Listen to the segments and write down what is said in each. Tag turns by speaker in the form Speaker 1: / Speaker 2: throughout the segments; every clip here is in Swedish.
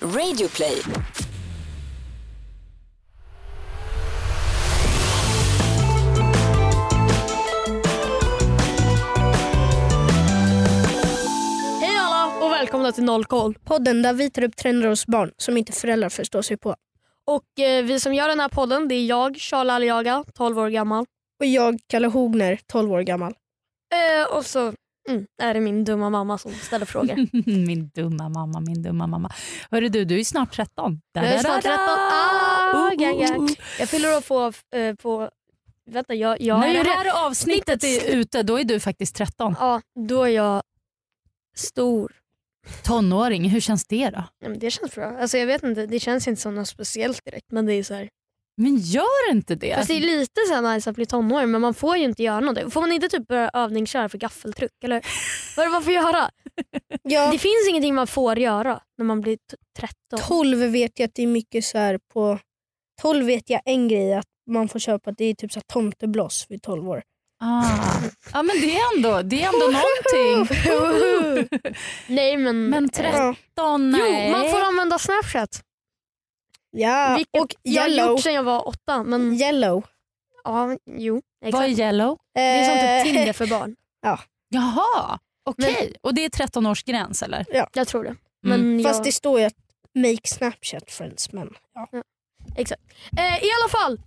Speaker 1: Radioplay.
Speaker 2: Hej alla och välkomna till Noll koll.
Speaker 3: Podden där vi tar upp trender hos barn som inte föräldrar förstår sig på.
Speaker 2: Och eh, vi som gör den här podden det är jag, Charlie Aliaga, 12 år gammal.
Speaker 3: Och jag, Kalle Hogner, 12 år gammal.
Speaker 2: Eh, och så mm, är det min dumma mamma som ställer frågor.
Speaker 4: min dumma mamma, min dumma mamma. Hörru du, du är snart 13. Da,
Speaker 2: jag är
Speaker 4: da, da,
Speaker 2: snart 13.
Speaker 4: da.
Speaker 2: Ah,
Speaker 4: Oh,
Speaker 2: gang, gang.
Speaker 4: oh, oh.
Speaker 2: Jag fyller upp på, eh, på... Vänta, jag, jag
Speaker 4: När
Speaker 2: är
Speaker 4: det
Speaker 2: redan-
Speaker 4: här avsnittet är ute, då är du faktiskt 13.
Speaker 2: Ja, då är jag stor.
Speaker 4: Tonåring, hur känns det då?
Speaker 2: Nej, men det känns bra. Alltså, jag vet inte, det känns inte som något speciellt direkt. Men det är så här.
Speaker 4: Men gör inte det.
Speaker 2: Fast det är lite så här nice att bli tonåring men man får ju inte göra något. Får man inte typ börja övningsköra för gaffeltryck? Eller? Vad är det man får göra?
Speaker 3: Ja,
Speaker 2: Det finns ingenting man får göra när man blir t- 13.
Speaker 3: 12 vet jag att det är mycket så här på... 12 vet jag en grej att man får köpa, det är typ så här tomteblås vid 12 år.
Speaker 4: Ah. Ja, men det är ändå, det är ändå någonting.
Speaker 2: Nej men...
Speaker 4: Men 13,
Speaker 3: Ja,
Speaker 4: nej.
Speaker 2: Jo, man får använda Snapchat.
Speaker 3: ja.
Speaker 2: vilket
Speaker 3: och
Speaker 2: jag har
Speaker 3: yellow.
Speaker 2: gjort sedan jag var åtta. Men
Speaker 3: Yellow.
Speaker 2: ja, jo.
Speaker 4: Vad är
Speaker 2: Exakt.
Speaker 4: yellow?
Speaker 3: Det
Speaker 2: Det är
Speaker 3: Eh,
Speaker 2: som typ Tinder för barn.
Speaker 4: Jaha, okej. Och det är 13-årsgräns eller?
Speaker 2: Jag tror det. Men
Speaker 4: Mm.
Speaker 2: jag...
Speaker 3: Fast det står ju att make Snapchat friends men ja.
Speaker 2: Eh, I alla fall.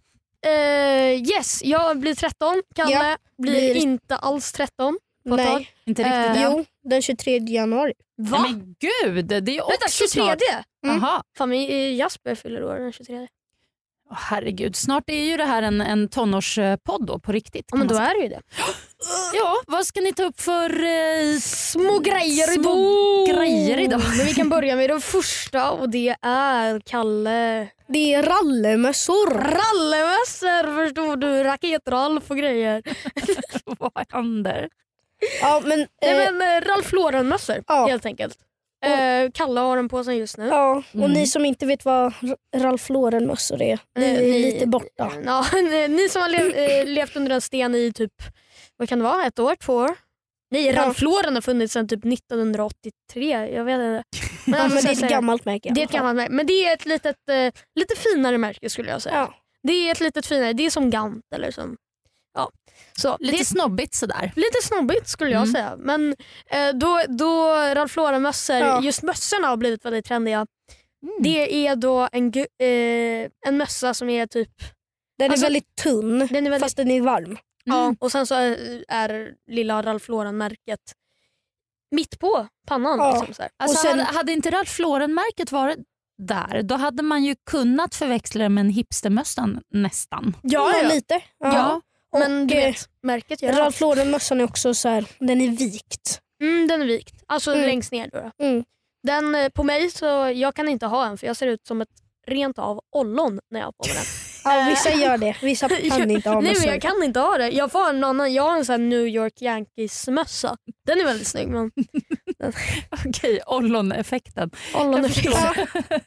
Speaker 2: Eh, yes, jag blir 13. Kalle
Speaker 3: Ja,
Speaker 2: blir,
Speaker 3: blir-
Speaker 2: inte alls 13. På ett tag.
Speaker 3: Nej.
Speaker 4: Inte riktigt
Speaker 2: Eh,
Speaker 4: än.
Speaker 3: Jo, den 23 januari.
Speaker 2: Va?
Speaker 4: Nej, men gud, det är också
Speaker 2: Vänta, 23?
Speaker 4: snart.
Speaker 3: Mm.
Speaker 4: Aha.
Speaker 2: Fan, men eh, Jasper fyller år den 23.
Speaker 4: Åh, herregud, snart är ju det här en, en tonårspodd då, på riktigt.
Speaker 2: Ja,
Speaker 4: kan
Speaker 2: men då
Speaker 4: man säga.
Speaker 2: är det ju det.
Speaker 4: ja, vad ska ni ta upp för eh,
Speaker 2: Små grejer
Speaker 4: Små grejer idag.
Speaker 2: Oh, Men vi kan börja med den första och det är Kalle.
Speaker 3: Det är rallemössor.
Speaker 2: Rallemössor förstod du, raketralf och grejer.
Speaker 4: vad händer?
Speaker 3: Ja, men, eh,
Speaker 2: Nej men eh, Ralph Lauren-mössor
Speaker 3: Ja.
Speaker 2: helt enkelt. Eh, Kalle har den på sig just nu.
Speaker 3: Ja, och
Speaker 4: Mm.
Speaker 3: ni som inte vet vad R- Ralph Lauren-mössor är, ni
Speaker 2: Eh,
Speaker 3: är
Speaker 2: ni-
Speaker 3: lite borta.
Speaker 2: Ja, ni- ni som har le- eh, levt under en sten i typ, vad kan det vara, ett år, två år? Nej,
Speaker 3: Ja.
Speaker 2: Ralph Lauren har funnits sedan typ 1983. Jag vet inte. Men,
Speaker 3: Ja,
Speaker 2: alltså, så
Speaker 3: men det
Speaker 2: jag
Speaker 3: är ett
Speaker 2: säger-
Speaker 3: gammalt märke. i
Speaker 2: Det är
Speaker 3: alla
Speaker 2: ett
Speaker 3: fall.
Speaker 2: gammalt märke, men det är ett litet, eh, lite finare märke skulle jag säga.
Speaker 3: Ja.
Speaker 2: Det är ett litet finare, det är som Gant eller som... Ja. Så,
Speaker 4: Lite
Speaker 2: det är
Speaker 4: snobbigt sådär.
Speaker 2: lite snobbigt skulle jag
Speaker 4: Mm.
Speaker 2: säga. Men eh, då, då Ralph Lauren-mössor,
Speaker 3: Ja.
Speaker 2: just mössorna har blivit väldigt trendiga.
Speaker 4: Mm.
Speaker 2: Det är då en, gu- eh, en mössa som är typ,
Speaker 3: Den
Speaker 2: Alltså,
Speaker 3: är väldigt tunn,
Speaker 2: den är väldigt,
Speaker 3: fast den är varm.
Speaker 2: ja, och sen så är, är lilla Ralph Lauren-märket mitt på pannan.
Speaker 3: Ja.
Speaker 2: Liksom, så här.
Speaker 4: Alltså,
Speaker 3: och sen-
Speaker 4: hade, hade inte Ralph Lauren-märket varit där, då hade man ju kunnat förväxla det med en hipstermössan nästan.
Speaker 2: ja.
Speaker 3: lite. Och,
Speaker 2: Men du
Speaker 3: eh,
Speaker 2: vet, märket gör allt.
Speaker 3: Ralph Lauren-mössan är också så här, den är vikt.
Speaker 2: Mm, den är vikt. Alltså
Speaker 3: Mm.
Speaker 2: längst ner. Då. då.
Speaker 3: Mm.
Speaker 2: Den eh, på mig, så jag kan inte ha en för jag ser ut som ett rent av ollon när jag har på mig den.
Speaker 3: Ja,
Speaker 2: Eh.
Speaker 3: vissa gör det, vissa kan inte ha
Speaker 2: Nej
Speaker 3: mössor.
Speaker 2: men jag kan inte ha det. Jag får ha en annan. Jag har en sån här New York Yankees mössa. Den är väldigt snygg men
Speaker 4: Okej, olloneffekten.
Speaker 2: ollon är
Speaker 4: Jag förstår.
Speaker 2: fint.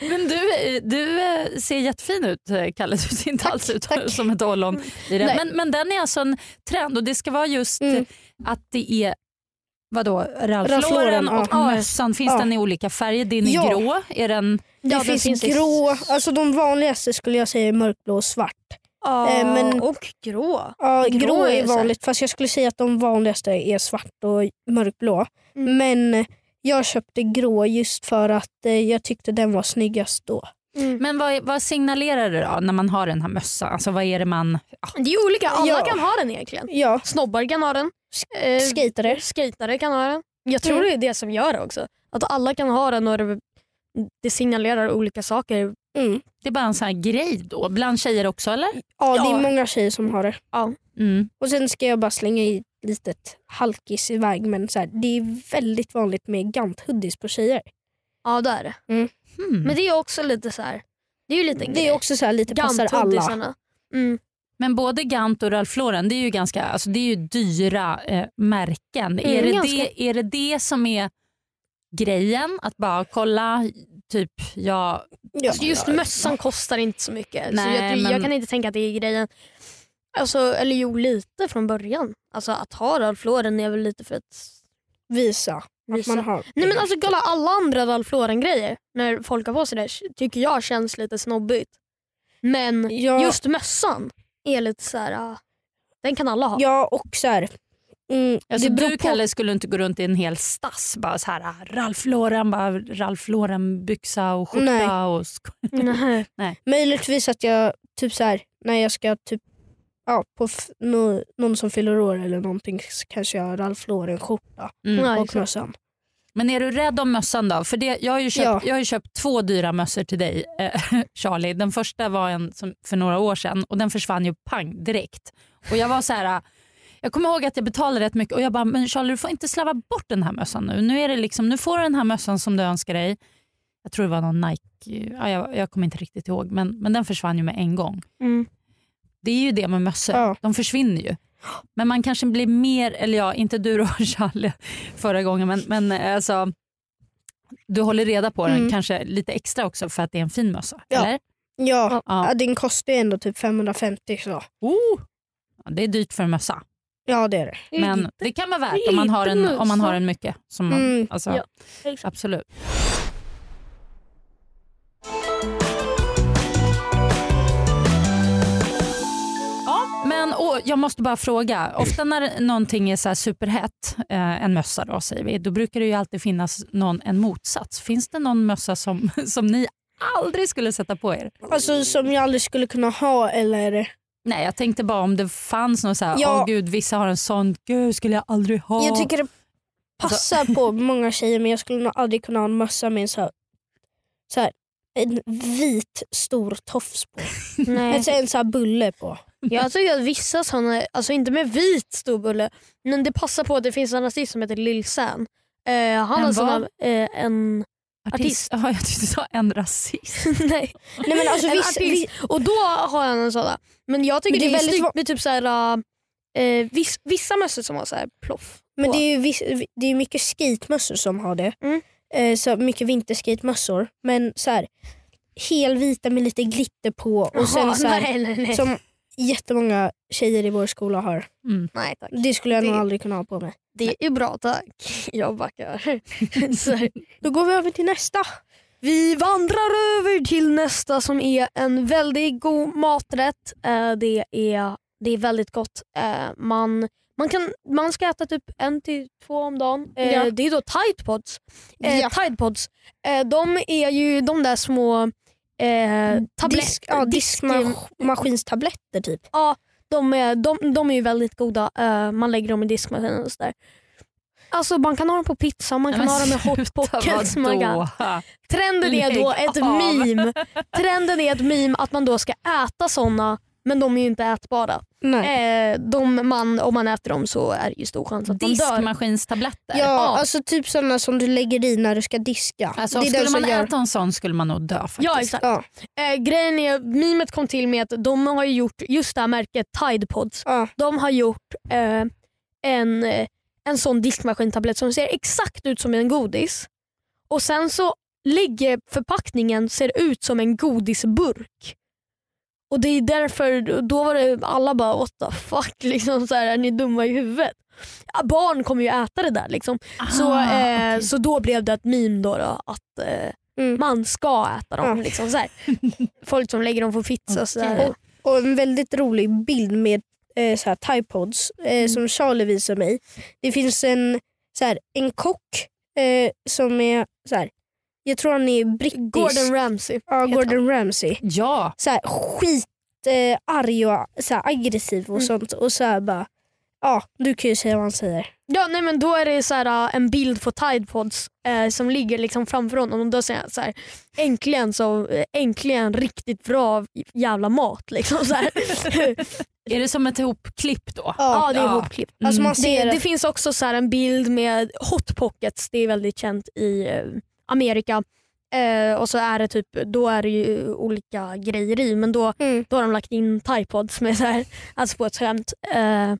Speaker 4: Men du, eh, du eh, ser jättefin ut eh, Kalle, du ser inte alls ut
Speaker 3: tack.
Speaker 4: som ett ollon. i det.
Speaker 2: Nej.
Speaker 4: Men, men den är alltså en trend och det ska vara just
Speaker 3: Mm.
Speaker 4: eh, att det är vadå,
Speaker 3: Ralph
Speaker 4: Ralph,
Speaker 3: Lauren,
Speaker 4: Lauren och
Speaker 2: ja.
Speaker 4: mössan. Finns
Speaker 3: Ja.
Speaker 4: den i olika färger? Din är
Speaker 3: Ja.
Speaker 4: grå. Är den,
Speaker 3: Det
Speaker 2: Ja, den
Speaker 3: finns,
Speaker 2: finns i-
Speaker 3: grå, alltså de vanligaste skulle jag säga är mörkblå och svart.
Speaker 2: Ja,
Speaker 3: Eh, men-
Speaker 2: Och grå.
Speaker 3: Ja, grå,
Speaker 2: Grå är
Speaker 3: är
Speaker 2: ju så här-
Speaker 3: vanligt fast jag skulle säga att de vanligaste är svart och mörkblå.
Speaker 2: Mm.
Speaker 3: Men eh, jag köpte grå just för att eh, jag tyckte den var snyggast då.
Speaker 2: Mm.
Speaker 4: men vad, är- vad signalerar det då när man har den här mössan? Alltså vad är det man... Ja.
Speaker 2: Det är olika. Alla
Speaker 3: Ja.
Speaker 2: kan ha den egentligen.
Speaker 3: Ja,
Speaker 2: Snobbar kan ha den. Eh,
Speaker 3: skejtare.
Speaker 2: skejtare kan ha den. Jag tror
Speaker 3: Mm.
Speaker 2: det är det som gör det också. Att alla kan ha den och det, det signalerar olika saker.
Speaker 3: Mm.
Speaker 4: Det är bara en sån här grej då, bland tjejer också eller?
Speaker 3: Ja, det
Speaker 2: Ja.
Speaker 3: är många tjejer som har det.
Speaker 4: Mm.
Speaker 3: Och Sen ska jag bara slänga i ett litet halkis iväg men så här, det är väldigt vanligt med gant-hoodies på tjejer.
Speaker 2: Ja det är det.
Speaker 4: Hmm.
Speaker 2: Men det är också lite så här. Det är ju lite en
Speaker 3: Mm. Det
Speaker 2: grej.
Speaker 3: är också så här, lite passar alla.
Speaker 2: Gant-hoodiesarna. Mm.
Speaker 4: Men både Gant och Ralph Lauren det är ju, ganska, alltså det är ju dyra eh,
Speaker 3: Mm,
Speaker 4: märken. är, det
Speaker 2: ganska.
Speaker 4: det, är det det som är grejen? Att bara kolla, typ jag...
Speaker 3: Ja.
Speaker 2: Alltså just mössan kostar inte så mycket. så
Speaker 4: Nej,
Speaker 2: jag, tror- jag
Speaker 4: men-
Speaker 2: kan inte tänka att det är grejen. Alltså, eller jo, lite från början. Alltså Att ha Ralph Lauren är väl lite för att
Speaker 3: Visa. Att man
Speaker 2: Visa.
Speaker 3: har.
Speaker 2: Nej men alltså kolla alla andra Ralph Lauren grejer när folk har på sig det tycker jag känns lite snobbigt. Men
Speaker 3: Ja,
Speaker 2: alltså, just mössan är lite så här. ah, den kan alla ha.
Speaker 3: ja och så här. Mm,
Speaker 4: Alltså,
Speaker 3: det beror
Speaker 4: du
Speaker 3: på.
Speaker 4: Kalle skulle inte gå runt i en hel stass bara så här ah, Ralph Lauren, bara Ralph Lauren byxa och skjorta
Speaker 3: Nej. Mm.
Speaker 4: och sk-
Speaker 2: Nej.
Speaker 3: Möjligtvis att jag typ så här, när jag ska typ Ja, på f- nå- någon som fyller år eller någonting så kanske jag har Ralph Lauren-skjorta
Speaker 4: Mm.
Speaker 2: Ja,
Speaker 3: och
Speaker 2: exakt.
Speaker 3: mössan.
Speaker 4: Men är du rädd om mössan då? För det, jag, har ju köpt,
Speaker 3: Ja.
Speaker 4: jag har ju köpt två dyra mössor till dig eh, Charlie. Den första var en som, för några år sedan och den försvann ju pang direkt. Och jag var så här, eh, jag kommer ihåg att jag betalade rätt mycket och jag bara, men Charlie du får inte slarva bort den här mössan nu. Nu, är det liksom, nu får du den här mössan som du önskar dig. Jag tror det var någon Nike, ja, jag, jag kommer inte riktigt ihåg men, men den försvann ju med en gång.
Speaker 2: Mm.
Speaker 4: Det är ju det med mössor,
Speaker 3: Ja.
Speaker 4: de försvinner ju. Men man kanske blir mer, eller ja, inte du då Charlie förra gången, men, men alltså, du håller reda på den
Speaker 3: Mm.
Speaker 4: kanske lite extra också för att det är en fin mössa?
Speaker 3: Ja.
Speaker 4: Eller?
Speaker 3: Ja,
Speaker 4: Ja.
Speaker 3: ja. din kostar ju ändå typ 550 så.
Speaker 4: Oh. Ja, det är dyrt för en mössa,
Speaker 3: Ja det är det.
Speaker 4: men det kan vara värt om man har en, om man har en mycket. Som man,
Speaker 3: Mm.
Speaker 4: alltså,
Speaker 2: Ja, exakt.
Speaker 4: Absolut. Ja, Men och jag måste bara fråga, ofta när någonting är så här superhett, eh, en mössa då säger vi, då brukar det ju alltid finnas någon, en motsats. Finns det någon mössa som, som ni aldrig skulle sätta på er?
Speaker 3: Alltså som jag aldrig skulle kunna ha eller...
Speaker 4: Nej, jag tänkte bara om det fanns någon så här,
Speaker 3: Ja.
Speaker 4: åh gud vissa har en sån, gud skulle jag aldrig ha.
Speaker 3: Jag tycker det passar
Speaker 2: Alltså.
Speaker 3: på många tjejer men jag skulle nog aldrig kunna ha en mössa med en så här, så här, en vit stor tofs på.
Speaker 2: Nej.
Speaker 3: Alltså en så här bulle på.
Speaker 2: Jag tycker att vissa sådana, alltså inte med vit stor bulle, men det passar på att det finns en artist som heter Lil San. Eh, han
Speaker 4: En
Speaker 2: har
Speaker 4: vad?
Speaker 2: såna, eh, en,
Speaker 4: artist. Ja, jag tyckte du sa en rasist.
Speaker 2: nej,
Speaker 3: Nej men alltså
Speaker 2: en
Speaker 3: viss,
Speaker 2: artist.
Speaker 3: vi-
Speaker 2: Och då har han en sådan. Men jag tycker
Speaker 3: Men
Speaker 2: det,
Speaker 3: det
Speaker 2: är
Speaker 3: är väldigt
Speaker 2: snyggt
Speaker 3: va-
Speaker 2: med typ så här, eh, viss, vissa mössor som har så här ploff.
Speaker 3: men
Speaker 2: på.
Speaker 3: det är ju viss, det är mycket skitmössor som har det.
Speaker 2: Mm.
Speaker 3: Eh, så mycket vinterskitmössor. Men så här, helvita med lite glitter på och sen
Speaker 2: Jaha,
Speaker 3: så här,
Speaker 2: nej, nej, nej.
Speaker 3: som jättemånga tjejer i vår skola har.
Speaker 4: Mm.
Speaker 2: nej tack.
Speaker 3: Det skulle jag nog
Speaker 2: Det-
Speaker 3: aldrig kunna ha på mig.
Speaker 2: Det är bra tack. Jag backar. så,
Speaker 3: Då går vi över till nästa.
Speaker 2: vi vandrar över till nästa som är en väldigt god maträtt. Eh, det, är, det är väldigt gott. Eh, man, man, kan, man ska äta typ en till två om dagen. Eh,
Speaker 3: Ja.
Speaker 2: Det är då Tide Pods. Eh,
Speaker 3: Ja.
Speaker 2: Tide Pods. Eh, de är ju de där små eh, tabletter.
Speaker 3: Mm, Disk, ja, diskmaskinstabletter typ.
Speaker 2: De är, de, de är ju väldigt goda. Eh, man lägger dem i diskmaskinen och sådär. Alltså man kan ha dem på pizza, man
Speaker 4: Nej,
Speaker 2: kan
Speaker 4: men
Speaker 2: ha dem i
Speaker 4: sluta,
Speaker 2: hot pockets.
Speaker 4: vadå?
Speaker 2: man kan- Trenden är då
Speaker 4: Lägg
Speaker 2: ett
Speaker 4: av.
Speaker 2: meme. Trenden är ett meme att man då ska äta såna men de är ju inte ätbara.
Speaker 3: Nej.
Speaker 2: Eh, de man, om man äter dem så är det ju stor chans att man dör.
Speaker 4: Diskmaskinstabletter.
Speaker 3: Ja, alltså typ sådana som du lägger i när du ska diska.
Speaker 4: Alltså,
Speaker 3: det är den
Speaker 4: skulle
Speaker 3: som
Speaker 4: man
Speaker 3: gör...
Speaker 4: äta en sån skulle man nog dö faktiskt.
Speaker 2: Ja exakt.
Speaker 3: Ja,
Speaker 2: Eh, grejen är, memet kom till med att de har ju gjort, just det här märket Tide Pods,
Speaker 3: ja.
Speaker 2: de har gjort eh, en, eh, en sån diskmaskintablett som ser exakt ut som en godis. Och sen så ligger förpackningen ser ut som en godisburk. Och det är därför, då var det alla bara what the fuck, liksom så här, är ni dumma i huvudet? Ja, barn kommer ju äta det där liksom.
Speaker 4: Ah,
Speaker 2: Så, eh,
Speaker 4: okej.
Speaker 2: så då blev det ett meme då, då att eh,
Speaker 3: Mm.
Speaker 2: man ska äta dem.
Speaker 3: Ja.
Speaker 2: Liksom, så här. Folk som lägger dem på pizza. och Så
Speaker 4: Ah. Okej.
Speaker 2: där.
Speaker 3: Och en väldigt rolig bild med eh, så här, Typods eh,
Speaker 2: Mm.
Speaker 3: som Charlie visade mig. Det finns en, så här, en kock eh, som är, så här, jag tror han är brittisk.
Speaker 2: Gordon Ramsay.
Speaker 3: ja,
Speaker 2: heter
Speaker 3: Gordon Ramsay.
Speaker 4: Ja,
Speaker 3: så här, skit eh, arg och så här, aggressiv och
Speaker 2: Mm.
Speaker 3: sånt. Och så här, bara, ja, du kan ju säga vad han säger.
Speaker 2: Ja, nej, men då är det så här, äh, en bild på Tidepods eh, som ligger liksom framför honom och då säger han så här, äntligen, så, eh, äntligen riktigt bra jävla mat. Liksom, så här.
Speaker 4: är det som ett ihopklipp då?
Speaker 2: ja, det är
Speaker 4: Ja.
Speaker 2: ihopklippt.
Speaker 3: Alltså
Speaker 4: Mm.
Speaker 3: man ser
Speaker 2: Det,
Speaker 3: det.
Speaker 2: det finns också så här en bild med hot pockets, det är väldigt känt i eh, Amerika. Eh, och så är det typ, då är det ju olika grejer i men då,
Speaker 3: Mm.
Speaker 2: då har de lagt in Tidepods med så här, alltså på ett skämt. Eh,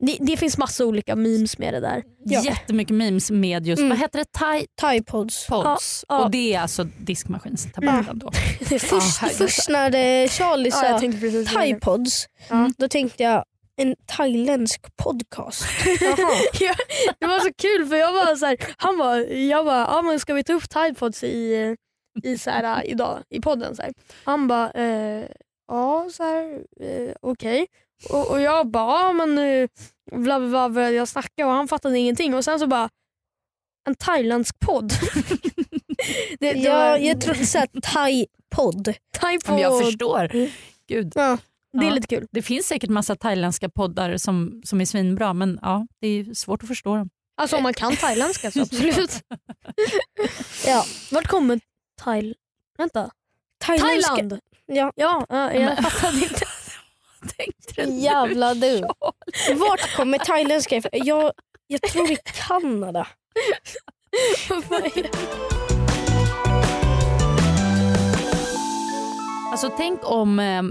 Speaker 2: det, det finns massa olika memes med det där.
Speaker 3: Ja.
Speaker 4: Jättemycket memes med just,
Speaker 3: Mm.
Speaker 4: vad heter det, Tide
Speaker 3: Typods.
Speaker 4: Pods.
Speaker 2: Ja, ja.
Speaker 4: Och det är alltså diskmaskinstabletten
Speaker 3: Mm.
Speaker 4: då.
Speaker 3: Först,
Speaker 4: Ja, herregud.
Speaker 3: först när eh, Charlie
Speaker 2: Ja, jag
Speaker 3: sa
Speaker 2: tänkte precis säga det.
Speaker 3: Typods,
Speaker 2: Ja.
Speaker 3: då tänkte jag en thailändsk podcast.
Speaker 2: Ja, det var så kul för jag var så här, han var, jag bara, ja men ska vi ta upp Tidepods i, i så här, eh, idag i podden? Så här. Han bara, eh, ja så här, eh, okej. Och, och jag bara, ja men eh, bla bla bla började jag snacka och han fattade ingenting och sen så bara, en thailändsk podd. det, det
Speaker 3: ja,
Speaker 2: var-
Speaker 3: jag tror så här, thai-podd.
Speaker 4: Men jag
Speaker 2: Tidepod,
Speaker 4: förstår.
Speaker 3: Mm.
Speaker 4: Gud.
Speaker 3: Ja.
Speaker 2: det är
Speaker 4: Ja.
Speaker 2: lite kul.
Speaker 4: Det finns säkert massa thailändska poddar som, som är svinbra men ja, det är svårt att förstå dem.
Speaker 2: Alltså om man kan thailändska så absolut.
Speaker 3: Ja.
Speaker 2: Vart kommer Thail... Vänta.
Speaker 3: Thailändska-
Speaker 2: Thailand!
Speaker 3: Ja.
Speaker 2: Ja, ja, jag fattade inte.
Speaker 4: Tänkte du nu?
Speaker 3: Jävla du. Vart kommer thailändska ifrån? Jag, jag tror det är Kanada.
Speaker 4: Mm. Alltså tänk om eh,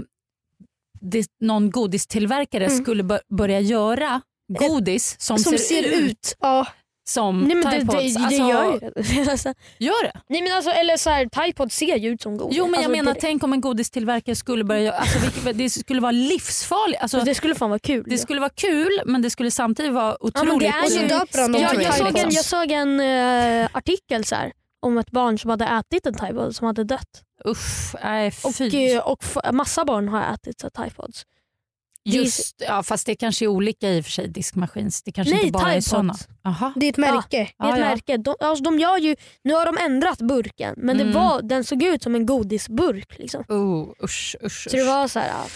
Speaker 4: det, någon godistillverkare
Speaker 3: Mm.
Speaker 4: skulle bör- börja göra godis som,
Speaker 3: Som ser ut. Ja.
Speaker 4: som
Speaker 2: Nej men det,
Speaker 4: Tide
Speaker 2: det,
Speaker 4: Pods.
Speaker 2: det
Speaker 4: Alltså,
Speaker 2: gör ju det. Alltså,
Speaker 4: gör det.
Speaker 2: Nej men alltså eller så här, Thaipod ser ju ut som godis.
Speaker 4: Jo men
Speaker 2: alltså,
Speaker 4: jag menar
Speaker 2: det,
Speaker 4: tänk om en godistillverkare skulle börja göra, alltså, vilket, det skulle vara livsfarligt. Alltså,
Speaker 2: det skulle fan vara kul.
Speaker 4: det skulle vara kul men det skulle samtidigt vara
Speaker 2: Ja, men
Speaker 4: otroligt
Speaker 2: det är
Speaker 3: Och
Speaker 2: ju-
Speaker 3: så döper han dem
Speaker 2: jag,
Speaker 3: till
Speaker 2: jag
Speaker 3: det,
Speaker 2: såg en,
Speaker 3: liksom.
Speaker 2: jag såg en eh, artikel så här, om ett barn som hade ätit en Thaipod som hade dött.
Speaker 4: Usch, nej
Speaker 2: Och,
Speaker 4: fy.
Speaker 2: eh, och f- massa barn har ätit så här Thaipods.
Speaker 4: Just, ja, fast det kanske är olika i och för sig diskmaskins. Det kanske
Speaker 2: Nej,
Speaker 4: inte bara är
Speaker 2: Tide
Speaker 4: sådana.
Speaker 2: Pods.
Speaker 4: Aha.
Speaker 3: Det är ett märke.
Speaker 2: Det är ett
Speaker 4: Ja, ja.
Speaker 2: märke. De, alltså, de gör ju, nu har de ändrat burken men
Speaker 4: Mm.
Speaker 2: det var, den såg ut som en godisburk. Liksom.
Speaker 4: Oh, usch, usch,
Speaker 2: Så det
Speaker 4: usch.
Speaker 2: var så här. ja.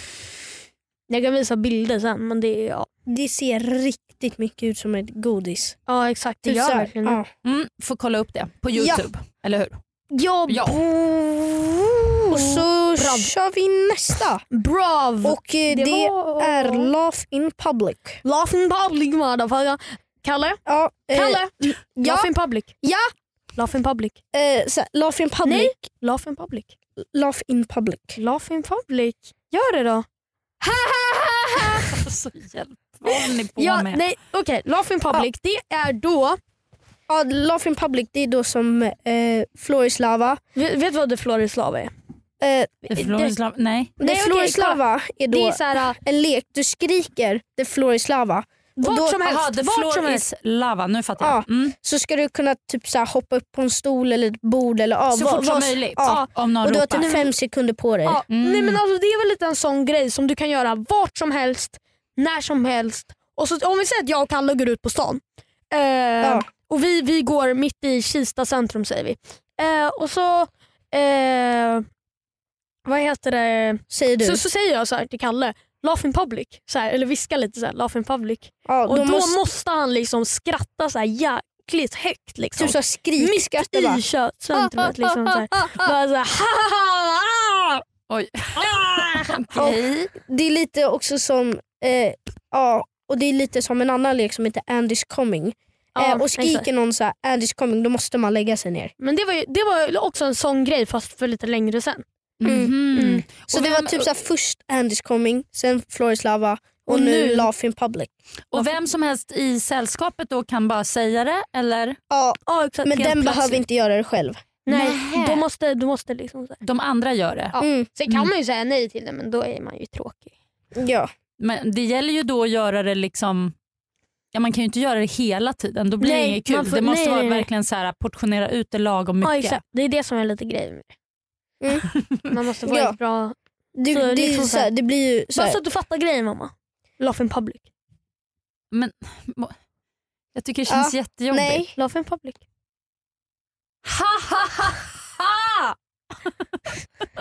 Speaker 2: Jag kan visa bilder sen men det är ja,
Speaker 3: Det ser riktigt mycket ut som ett godis.
Speaker 2: ja exakt. Det
Speaker 3: Typ
Speaker 2: gör
Speaker 3: så här.
Speaker 2: verkligen det.
Speaker 3: ja.
Speaker 4: Mm, får kolla upp det på
Speaker 3: Ja.
Speaker 4: Youtube, eller hur?
Speaker 2: Ja,
Speaker 4: Ja.
Speaker 3: Och så
Speaker 2: Bra.
Speaker 3: kör vi nästa.
Speaker 2: brav!
Speaker 3: Och eh, det,
Speaker 2: var-
Speaker 3: är Laugh in Public.
Speaker 2: Laughing Public motherfucker. Kalle,
Speaker 3: Ja, eh,
Speaker 2: Kalle!
Speaker 3: ja.
Speaker 2: Laughing Public.
Speaker 3: Ja.
Speaker 2: Laughing Public.
Speaker 3: eh, så här, laugh in Public.
Speaker 2: Nej. Laughing Public.
Speaker 3: Laugh in Public.
Speaker 2: Laughing Public. Gör det då.
Speaker 4: Alltså, hjälp. Vad håller ni på
Speaker 2: Ja,
Speaker 4: med?
Speaker 2: nej, okej. Laughing Public, det är då...
Speaker 3: Ja, laugh in Public det är då som eh, Floris Lava.
Speaker 2: Vet vet du vad The Floris Lava är?
Speaker 3: Eh,
Speaker 4: Det är Florence Love- nej.
Speaker 3: det
Speaker 2: Nej, okej,
Speaker 3: Floris
Speaker 2: kolla.
Speaker 3: Lava är då
Speaker 2: Det är så här, äh,
Speaker 3: en lek. Du skriker det Floris Lava. Och
Speaker 2: vart
Speaker 3: då-
Speaker 2: som helst.
Speaker 4: Aha, the
Speaker 2: vart
Speaker 4: floor
Speaker 2: som helst.
Speaker 4: is lava. Nu fattar jag. Mm.
Speaker 3: så ska du kunna typ så här, hoppa upp på en stol eller ett bord. Eller, ja,
Speaker 4: Så
Speaker 3: vad-
Speaker 4: fort som
Speaker 3: vad-
Speaker 4: möjligt.
Speaker 3: Ja.
Speaker 4: Om någon
Speaker 3: Och du har
Speaker 4: ropar.
Speaker 3: typ fem sekunder på dig.
Speaker 2: Ja,
Speaker 4: Mm.
Speaker 2: nej, men alltså, det är väl lite en sån grej som du kan göra vart som helst, när som helst. Och så, om vi säger att jag och Kalle går ut på stan eh, och vi, vi går mitt i Kista centrum säger vi. Eh, och så eh, vad heter det?
Speaker 3: Säger du.
Speaker 2: Så, så säger jag så här till Kalle, laugh in public. Så här, eller viskar lite så här, laugh in public.
Speaker 3: ja,
Speaker 2: Och då, måste...
Speaker 3: måste
Speaker 2: han liksom skratta så här jäkligt högt. Liksom.
Speaker 3: du typ så här, skrikskratta bara.
Speaker 2: I köttcentrumet. Liksom, så här. Bara så här,
Speaker 4: Ah! Oj.
Speaker 2: Ah!
Speaker 3: Okej. Det är lite också som eh, ja, och det är lite som en annan lek som heter Andy's coming.
Speaker 2: Ja,
Speaker 3: eh, och skriker
Speaker 2: exakt.
Speaker 3: någon så här, Andy's coming då måste man lägga sig ner.
Speaker 2: Men det var, ju, det var ju också en sån grej fast för lite längre sen.
Speaker 4: Mhm.
Speaker 2: Mm.
Speaker 3: Så
Speaker 4: Och
Speaker 3: det
Speaker 4: vem-
Speaker 3: var typ så här, först Andy's coming, sen Floris lava och,
Speaker 2: Och
Speaker 3: nu,
Speaker 2: nu-
Speaker 3: Laugh in public.
Speaker 4: Och vem som helst i sällskapet då kan bara säga det eller?
Speaker 3: Ja,
Speaker 2: Ja, exakt.
Speaker 3: men den
Speaker 4: helt
Speaker 3: behöver
Speaker 4: plötsligt.
Speaker 3: inte göra det själv.
Speaker 2: Nej,
Speaker 4: Nähä.
Speaker 2: då måste, då måste liksom så här.
Speaker 4: De andra gör det.
Speaker 2: Ja.
Speaker 3: Mm,
Speaker 2: Sen kan man ju säga nej till det men då är man ju tråkig.
Speaker 3: ja.
Speaker 4: Men det gäller ju då att göra det liksom Ja, man kan ju inte göra det hela tiden, då blir
Speaker 2: Nej,
Speaker 4: det inget kul.
Speaker 2: man får-
Speaker 4: det måste
Speaker 2: nej,
Speaker 4: vara
Speaker 2: nej, nej.
Speaker 4: verkligen så här, portionera ut det lagom mycket.
Speaker 2: Ja, exakt. Det är det som är lite grejen med det.
Speaker 3: Mm.
Speaker 2: Man måste vara
Speaker 3: Ja.
Speaker 2: ett bra...
Speaker 3: Du,
Speaker 2: Så
Speaker 3: det, är
Speaker 2: liksom
Speaker 3: ju
Speaker 2: så
Speaker 3: så
Speaker 2: här-
Speaker 3: här, det blir ju så
Speaker 2: Bara
Speaker 3: här,
Speaker 2: så att du fattar grejen mamma. Laugh in public.
Speaker 4: Jag tycker det känns jättejobbigt.
Speaker 3: nej.
Speaker 2: Laugh in public.
Speaker 4: Ha, ha, ha,
Speaker 3: Äh,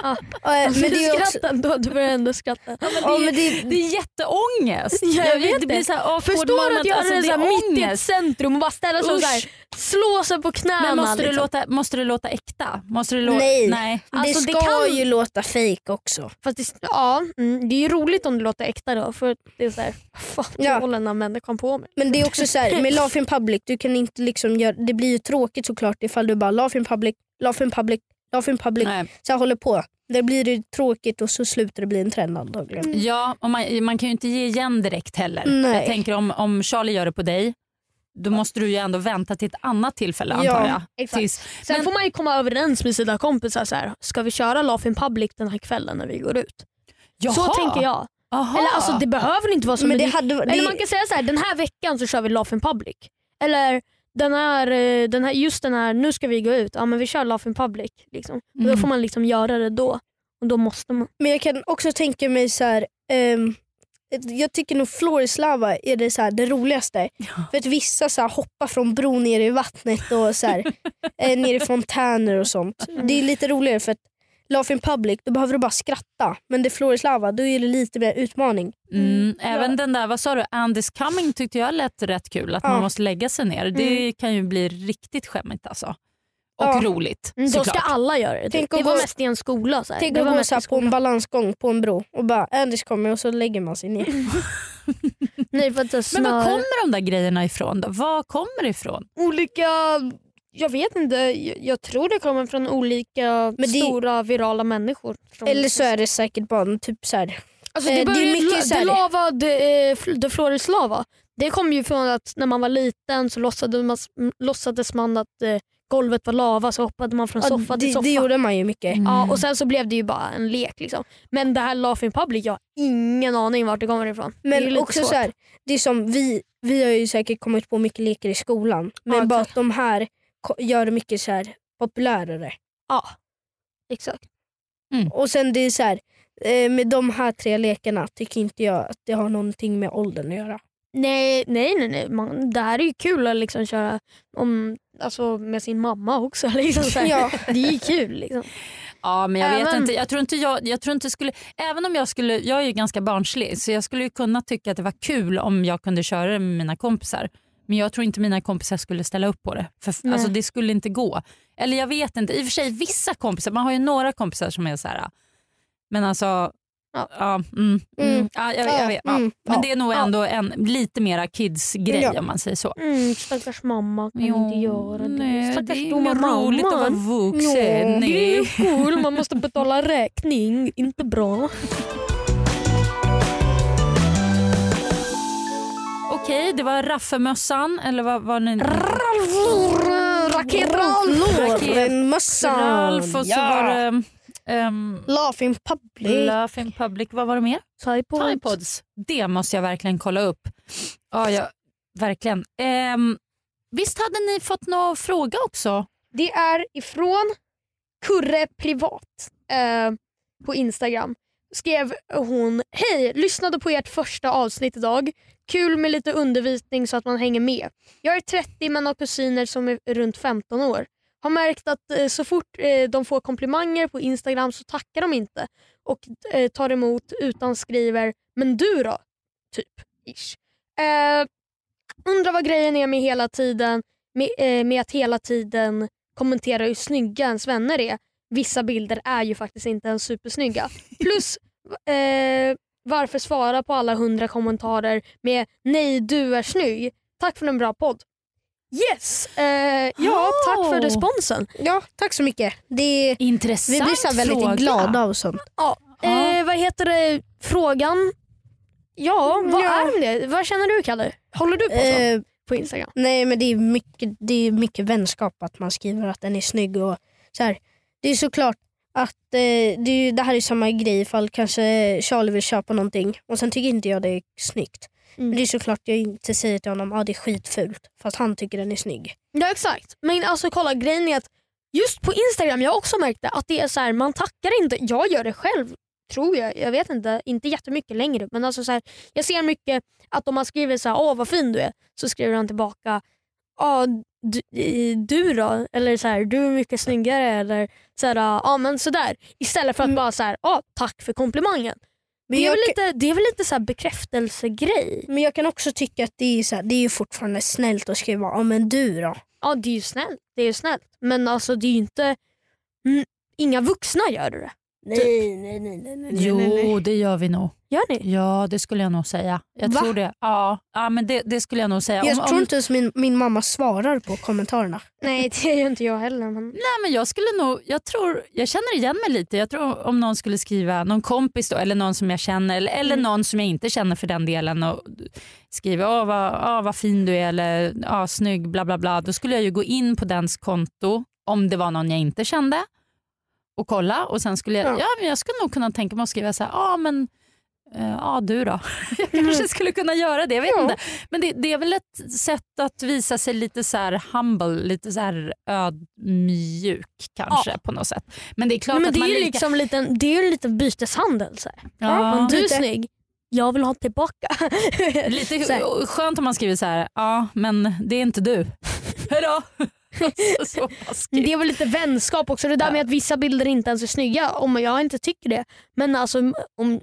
Speaker 4: ha!
Speaker 3: Eh,
Speaker 2: Alltså,
Speaker 3: men
Speaker 2: du
Speaker 3: det är ju också,
Speaker 2: skrattar ändå, du börjar ändå skratta.
Speaker 3: ja, men det,
Speaker 4: Det är jätteångest.
Speaker 2: Ja, jag vet
Speaker 4: det
Speaker 2: det.
Speaker 4: blir så här awkward
Speaker 2: Förstår du att
Speaker 4: moment.
Speaker 2: göra
Speaker 4: Alltså,
Speaker 2: det,
Speaker 4: det
Speaker 2: så här mitt i ett
Speaker 4: ångest.
Speaker 2: centrum och bara ställa sig och så här,
Speaker 4: Usch.
Speaker 2: slå sig på knäna.
Speaker 4: Men måste,
Speaker 2: liksom.
Speaker 4: det låta, måste det låta äkta? Måste det låta,
Speaker 3: Nej.
Speaker 4: nej.
Speaker 2: Alltså,
Speaker 3: det
Speaker 2: det
Speaker 3: ska
Speaker 2: kan-
Speaker 3: ju låta fejk också.
Speaker 2: Fast det, ja, mm, det är ju roligt om det låter äkta då. För det är såhär, fan
Speaker 3: Ja.
Speaker 2: ja. håller den här människan på med?
Speaker 3: Men det är också så här, med Laugh in public, du kan inte liksom göra, det blir ju tråkigt såklart ifall du bara Laugh in public, Laugh in public, Laugh in public,
Speaker 4: nej.
Speaker 3: så här håller på. Det blir det tråkigt och så slutar det bli en trend antagligen.
Speaker 4: Ja, och man, man kan ju inte ge igen direkt heller.
Speaker 2: Mm.
Speaker 3: Nej.
Speaker 4: Jag tänker om, om Charlie gör det på dig, då måste du ju ändå vänta till ett annat tillfälle
Speaker 3: Ja,
Speaker 4: antar jag.
Speaker 2: exakt.
Speaker 4: Tills,
Speaker 2: Sen
Speaker 4: Men-
Speaker 2: får man ju komma överens med sina kompisar. Så här, ska vi köra Laugh in public den här kvällen när vi går ut? Så
Speaker 4: Jaha!
Speaker 2: tänker jag.
Speaker 4: Aha.
Speaker 2: Eller alltså det behöver inte vara så.
Speaker 3: men det
Speaker 2: det-
Speaker 3: hade, det,
Speaker 2: Eller man kan säga så här, den här veckan så kör vi Laugh in public. Eller den här, eh, den här, just den här, nu ska vi gå ut. Ja men vi kör Laugh in public. Liksom. Och Då
Speaker 4: Mm.
Speaker 2: får man liksom göra det då. Och då måste man.
Speaker 3: Men jag kan också tänka mig så här. ehm, jag tycker nog Florislava är det, så här, det roligaste. För att vissa så här, hoppar från bron ner i vattnet och så här, eh, ner i fontäner och sånt. Det är lite roligare för att Laugh in public, då behöver du bara skratta. Men det är Florislava, då är det lite mer utmaning.
Speaker 4: Mm, även den där, vad sa du, Andy's coming tyckte jag lät rätt kul. Att
Speaker 3: Ja.
Speaker 4: man måste lägga sig ner.
Speaker 2: Mm.
Speaker 4: Det kan ju bli riktigt skämmigt alltså. Och
Speaker 3: Ja.
Speaker 4: roligt
Speaker 2: Mm, då
Speaker 4: såklart.
Speaker 2: ska alla göra det.
Speaker 3: Tänk
Speaker 2: det
Speaker 3: att
Speaker 2: var
Speaker 3: gå-
Speaker 2: mest i en skola. Så här.
Speaker 3: Tänk
Speaker 2: det
Speaker 3: att
Speaker 2: var
Speaker 3: gå
Speaker 2: mest i
Speaker 3: så här, på en balansgång på en bro och bara Anders kommer och så lägger man sig ner.
Speaker 2: Nej, för att det
Speaker 4: Men var
Speaker 2: snör-
Speaker 4: kommer de där grejerna ifrån då? Var kommer det ifrån?
Speaker 2: olika, jag vet inte, jag, jag tror det kommer från olika
Speaker 3: det-
Speaker 2: stora virala människor. Som,
Speaker 3: Eller så är det säkert bara en typ så här.
Speaker 2: alltså,
Speaker 3: eh, det
Speaker 2: det,
Speaker 3: är
Speaker 2: började ju-
Speaker 3: mycket så här-
Speaker 2: det lava, det, eh, fl- det Flores lava, det kom ju från att när man var liten så låtsades man, låtsades man att eh, golvet var lava så hoppade man från
Speaker 3: ja,
Speaker 2: soffa till
Speaker 3: det,
Speaker 2: soffa.
Speaker 3: det gjorde Mm. man ju mycket.
Speaker 2: Ja, och Sen så blev det ju bara en lek. Liksom. Men det här Laugh in public, jag har ingen aning vart det kommer ifrån. det är ju
Speaker 3: Men
Speaker 2: lite
Speaker 3: också
Speaker 2: svårt.
Speaker 3: så här, det är som vi, vi har ju säkert kommit på mycket lekar i skolan. Men
Speaker 2: Ja,
Speaker 3: bara
Speaker 2: exakt.
Speaker 3: att de här ko- gör det mycket så här populärare.
Speaker 2: Ja, exakt.
Speaker 3: Och sen det är så här, eh, med de här tre lekarna tycker inte jag att det har någonting med åldern att göra.
Speaker 2: Nej, nej, nej. nej. Man, det här är ju kul att liksom köra om, alltså, med sin mamma också. Liksom, så här.
Speaker 3: Ja.
Speaker 2: Det är ju kul. Liksom.
Speaker 4: Ja, men jag vet
Speaker 2: Även-
Speaker 4: inte. Jag tror inte jag, jag tror inte skulle, även om jag skulle, jag är ju ganska barnslig så jag skulle ju kunna tycka att det var kul om jag kunde köra det med mina kompisar. Men jag tror inte mina kompisar skulle ställa upp på det. För,
Speaker 2: Nej.
Speaker 4: alltså, det skulle inte gå. Eller jag vet inte. I och för sig vissa kompisar, man har ju några kompisar som är så här. Men alltså,
Speaker 2: Ja.
Speaker 4: ja. mm, mm,
Speaker 3: Mm.
Speaker 4: Ja, jag, jag vet, ja.
Speaker 3: Mm,
Speaker 4: Men
Speaker 3: ja.
Speaker 4: det är nog
Speaker 2: Ja.
Speaker 4: ändå en lite mera kids-grej
Speaker 3: Ja.
Speaker 4: om man säger så.
Speaker 2: Mm, stackars mamma kan inte göra det.
Speaker 4: nej, det
Speaker 2: Stackars
Speaker 4: är
Speaker 2: dumma
Speaker 4: inget roligt att vara
Speaker 2: mamman.
Speaker 4: vuxen.
Speaker 3: Ja.
Speaker 2: Det är
Speaker 4: Nej.
Speaker 2: ju kul, man måste betala räkning. Inte bra.
Speaker 4: Okej, det var raffelmössan eller vad var ni?
Speaker 3: Rolf
Speaker 4: Raket.
Speaker 3: Mössan.
Speaker 4: Ralf och så
Speaker 3: Ja.
Speaker 4: var det ehm,
Speaker 3: Laugh in public.
Speaker 4: Laugh in public. Vad var det mer?
Speaker 2: Typod.
Speaker 4: Timepods. Det måste jag verkligen kolla upp. Ja, ja verkligen. Ehm, visst hade ni fått någon fråga också?
Speaker 2: Det är ifrån Kurre Privat eh, på Instagram. Skrev hon, hej, lyssnade på ert första avsnitt idag. Kul med lite undervisning så att man hänger med. Jag är 30 men har kusiner som är runt 15 år. Har märkt att eh, så fort eh, de får komplimanger på Instagram så tackar de inte och eh, tar emot utan skriver “men du då?” typ. Ish. Eh, undrar vad grejen är med hela tiden med, eh, med att hela tiden kommentera hur snygga ens vänner är. Vissa bilder är ju faktiskt inte ens supersnygga. Plus eh, varför svara på alla hundra kommentarer med “nej du är snygg”. Tack för en bra podd. Yes! Eh, ja, tack för
Speaker 4: Oh.
Speaker 2: responsen.
Speaker 3: Ja, tack så mycket. Det,
Speaker 4: Intressant
Speaker 3: vi blir så här väldigt
Speaker 4: fråga.
Speaker 3: glada och sånt.
Speaker 4: Ja.
Speaker 2: Eh, vad heter det? Frågan? Ja, vad
Speaker 3: Ja.
Speaker 2: är det? Vad känner du Kalle? Håller du på sånt
Speaker 3: Eh,
Speaker 2: på Instagram?
Speaker 3: Nej men det är, mycket, det är mycket vänskap att man skriver att den är snygg. Och så här. Det är såklart att eh, det, är, ju- det här är samma grej ifall kanske Charlie vill köpa någonting och sen tycker inte jag det är snyggt.
Speaker 2: Mm.
Speaker 3: Men det är såklart jag inte säger till honom att ah, det är skitfult fast han tycker den är snygg.
Speaker 2: Ja exakt. Men alltså kolla grejen är att just på Instagram, jag har också märkt det, att det är så här, man tackar inte. Jag gör det själv tror jag. Jag vet inte, inte jättemycket längre. Men alltså så här, jag ser mycket att om man skriver så här, åh vad fin du är, så skriver han tillbaka, ja du, eh, du då? Eller så här, du är mycket snyggare. Eller så här, "Ah, ja men sådär. Istället för att
Speaker 3: Mm.
Speaker 2: bara så här, ja tack för komplimangen.
Speaker 3: Men
Speaker 2: det, är
Speaker 3: jag,
Speaker 2: väl
Speaker 3: kan-
Speaker 2: lite, det är väl lite så här bekräftelsegrej?
Speaker 3: men jag kan också tycka att det är, så här, det är ju fortfarande snällt att skriva ah, men du då?
Speaker 2: Ja, det är ju snällt. Det är ju snällt. Men alltså det är ju inte... Mm, inga vuxna gör det.
Speaker 3: Nej, nej, nej, nej, nej,
Speaker 4: Jo, det gör vi nog.
Speaker 2: Gör ni?
Speaker 4: Ja, det skulle jag nog säga. Jag
Speaker 3: Va?
Speaker 4: tror det. Ja, ja men det, det skulle jag nog säga.
Speaker 3: Jag
Speaker 4: Om-
Speaker 3: tror
Speaker 4: om-
Speaker 3: inte ens min, min mamma svarar på kommentarerna.
Speaker 2: Nej, det gör ju inte jag heller. Men...
Speaker 4: Nej, men jag skulle nog, jag tror, jag känner igen mig lite. Jag tror om någon skulle skriva, någon kompis då, eller någon som jag känner eller, eller någon som jag inte känner för den delen och skriver åh vad, åh, vad fin du är eller åh, snygg bla bla bla. Då skulle jag ju gå in på dens konto om det var någon jag inte kände och kolla och sen skulle jag,
Speaker 3: Ja.
Speaker 4: ja. men jag skulle nog kunna tänka mig att skriva så här, ja men Eh, Ja, du då? Jag
Speaker 2: Mm.
Speaker 4: kanske skulle kunna göra det. Jag vet
Speaker 3: Ja.
Speaker 4: inte. Men det, det är väl ett sätt att visa sig lite så här humble, lite så här ödmjuk kanske på något sätt. Men det är klart
Speaker 2: Nej, men
Speaker 4: att
Speaker 2: det, är
Speaker 4: man
Speaker 2: ju
Speaker 4: lika...
Speaker 2: liksom liten, det är ju en liten byteshandel. Så här.
Speaker 4: ja,
Speaker 2: Om du är
Speaker 3: Lite.
Speaker 2: snygg, jag vill ha tillbaka.
Speaker 4: lite
Speaker 2: så här.
Speaker 4: skönt om man skriver så här, ja men det är inte du. Hejdå! Alltså, så
Speaker 2: Men
Speaker 4: taskigt.
Speaker 2: Det är väl lite vänskap också. Det där
Speaker 4: Ja.
Speaker 2: med att vissa bilder inte ens är snygga. Om jag inte tycker det. Men alltså om,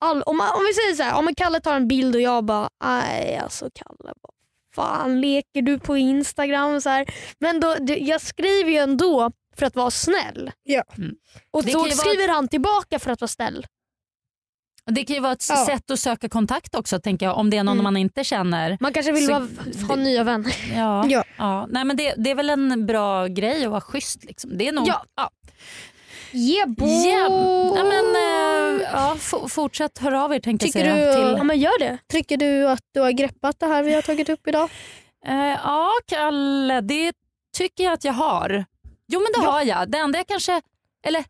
Speaker 2: all, om, om vi säger så här, om Kalle tar en bild och jag bara, nej alltså Kalle, vad fan leker du på Instagram? Så här. Men då, det- jag skriver ju ändå för att vara snäll.
Speaker 3: Ja.
Speaker 4: Mm.
Speaker 2: Och
Speaker 4: Det
Speaker 2: då
Speaker 4: kan ju vara-
Speaker 2: skriver han tillbaka för att vara snäll.
Speaker 4: Och Det kan ju vara ett
Speaker 3: Ja.
Speaker 4: sätt att söka kontakt också tänker jag, om det är någon
Speaker 2: Mm.
Speaker 4: man inte känner.
Speaker 2: Man kanske vill
Speaker 4: Så-
Speaker 2: vara, ha
Speaker 4: det-
Speaker 2: nya vänner.
Speaker 4: Ja. Ja.
Speaker 3: Ja.
Speaker 4: Nej, men det, det är väl en bra grej att vara schysst. Liksom. Det är nog...
Speaker 2: Ja.
Speaker 4: Ja.
Speaker 2: Yeah,
Speaker 4: Yeah. Ja, men, eh, ja, f- fortsätt höra av er tänkte jag
Speaker 3: Tycker
Speaker 4: säga.
Speaker 3: du-
Speaker 2: ja,
Speaker 4: Till,
Speaker 2: men gör det.
Speaker 3: Tycker du att du har greppat det här vi har tagit upp idag?
Speaker 4: eh, ja, Kalle, det tycker jag att jag har. Jo, men det har jag. Det enda jag kanske... Eller?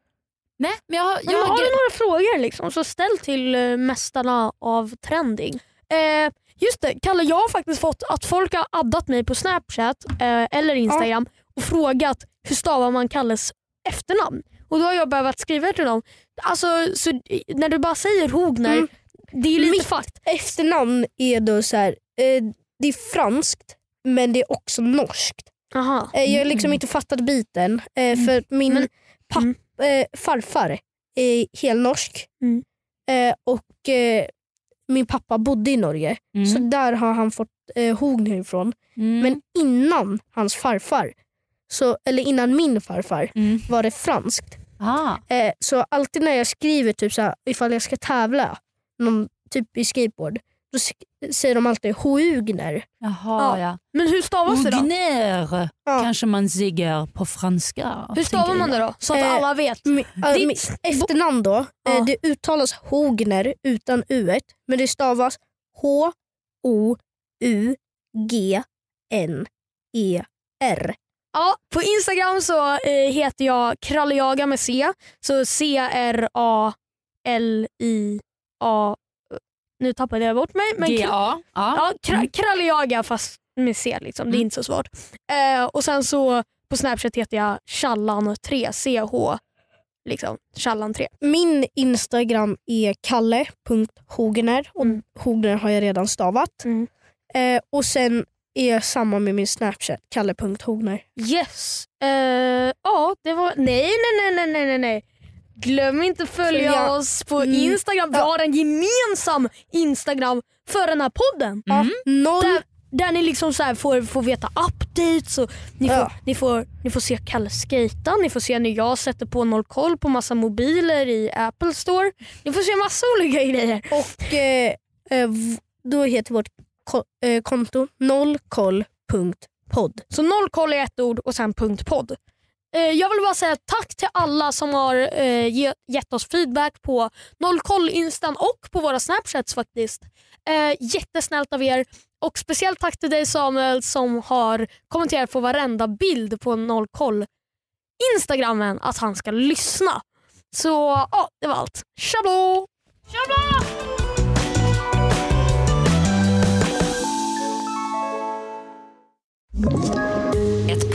Speaker 4: Nej, men jag, har- jag
Speaker 2: men
Speaker 4: har...
Speaker 2: har
Speaker 4: gre-
Speaker 2: du några frågor liksom, så ställ till eh, mästarna av trending. Eh, just det, Kalle jag har faktiskt fått att folk har addat mig på Snapchat eh, eller Instagram och frågat hur stavar man Kalles efternamn. Och Då har jag behövt skriva till dem. Alltså, så, eh, när du bara säger Hogner,
Speaker 3: Mm.
Speaker 2: det är lite
Speaker 3: Mitt-
Speaker 2: fakt.
Speaker 3: Efternamn är då så här, eh, det är franskt men det är också norskt.
Speaker 2: Aha.
Speaker 3: Eh, jag har
Speaker 4: Mm.
Speaker 3: liksom inte fattat biten eh, för min
Speaker 2: Men-
Speaker 3: papp, eh, farfar är helnorsk
Speaker 2: Mm.
Speaker 3: eh, och eh, min pappa bodde i Norge
Speaker 4: Mm,
Speaker 3: så där har han fått eh, Hogner ifrån.
Speaker 4: mm,
Speaker 3: Men innan hans farfar, så, eller innan min farfar,
Speaker 4: mm.
Speaker 3: var det franskt.
Speaker 4: Ah,
Speaker 3: Eh, så alltid när jag skriver typ så här, ifall jag ska tävla någon, typ i skateboard, då sk- säger de alltid Hougner.
Speaker 4: jaha,
Speaker 2: Ja.
Speaker 4: ja.
Speaker 2: Men hur stavas det då?
Speaker 4: Ugner
Speaker 3: Ja.
Speaker 4: kanske man säger på franska.
Speaker 2: Hur stavar
Speaker 4: tänker
Speaker 2: man det då? Så att
Speaker 3: Eh,
Speaker 2: alla vet.
Speaker 3: Mi- äh,
Speaker 2: Ditt-
Speaker 3: mitt efternamn då,
Speaker 2: Ja.
Speaker 3: eh, det uttalas Hogner utan u men det stavas E H-O-U-G-N-E-R.
Speaker 2: Ja, på Instagram så eh, heter jag kralljaga med C. Så C-R-A-L-I-A... Nu tappade jag bort mig. Men
Speaker 4: jag. G-A. Ja.
Speaker 2: ja, kra, kralljaga fast med C. Liksom. Det är
Speaker 4: Mm.
Speaker 2: inte så svårt. Eh, och Sen så på Snapchat heter jag challan3. C-H. Liksom, challan3.
Speaker 3: Min Instagram är kalle.hogner och
Speaker 2: Mm.
Speaker 3: Hogner har jag redan stavat.
Speaker 2: Mm.
Speaker 3: Eh, och sen är jag samma med min Snapchat, kalle.hogner.
Speaker 2: Yes. Eh, ja, det var... Nej, nej, nej, nej, nej, nej, nej. Glöm inte följa
Speaker 3: Följa.
Speaker 2: oss på
Speaker 3: Mm.
Speaker 2: Instagram. Vi
Speaker 3: Ja.
Speaker 2: har en gemensam Instagram för den här podden.
Speaker 4: Mm.
Speaker 3: Noll
Speaker 2: Där, där ni liksom så här får, får veta updates och ni,
Speaker 3: Ja.
Speaker 2: får, ni, får, ni får se Kalle skejta, ni får se när jag sätter på noll koll på massa mobiler i Apple store. Ni får se massa olika grejer.
Speaker 3: Och eh, eh, v- då heter vårt ko- eh, konto nollkoll.podd.
Speaker 2: Så noll koll är ett ord och sen punkt podd. Eh, Jag vill bara säga tack till alla som har eh, ge- gett oss feedback på nollkoll-instan och på våra snapchats faktiskt. Eh, Jättesnällt av er. Och speciellt tack till dig Samuel som har kommenterat på varenda bild på nollkoll instagrammen att han ska lyssna. Så ja, det var allt. Tjablå! Tjablå!
Speaker 1: Ett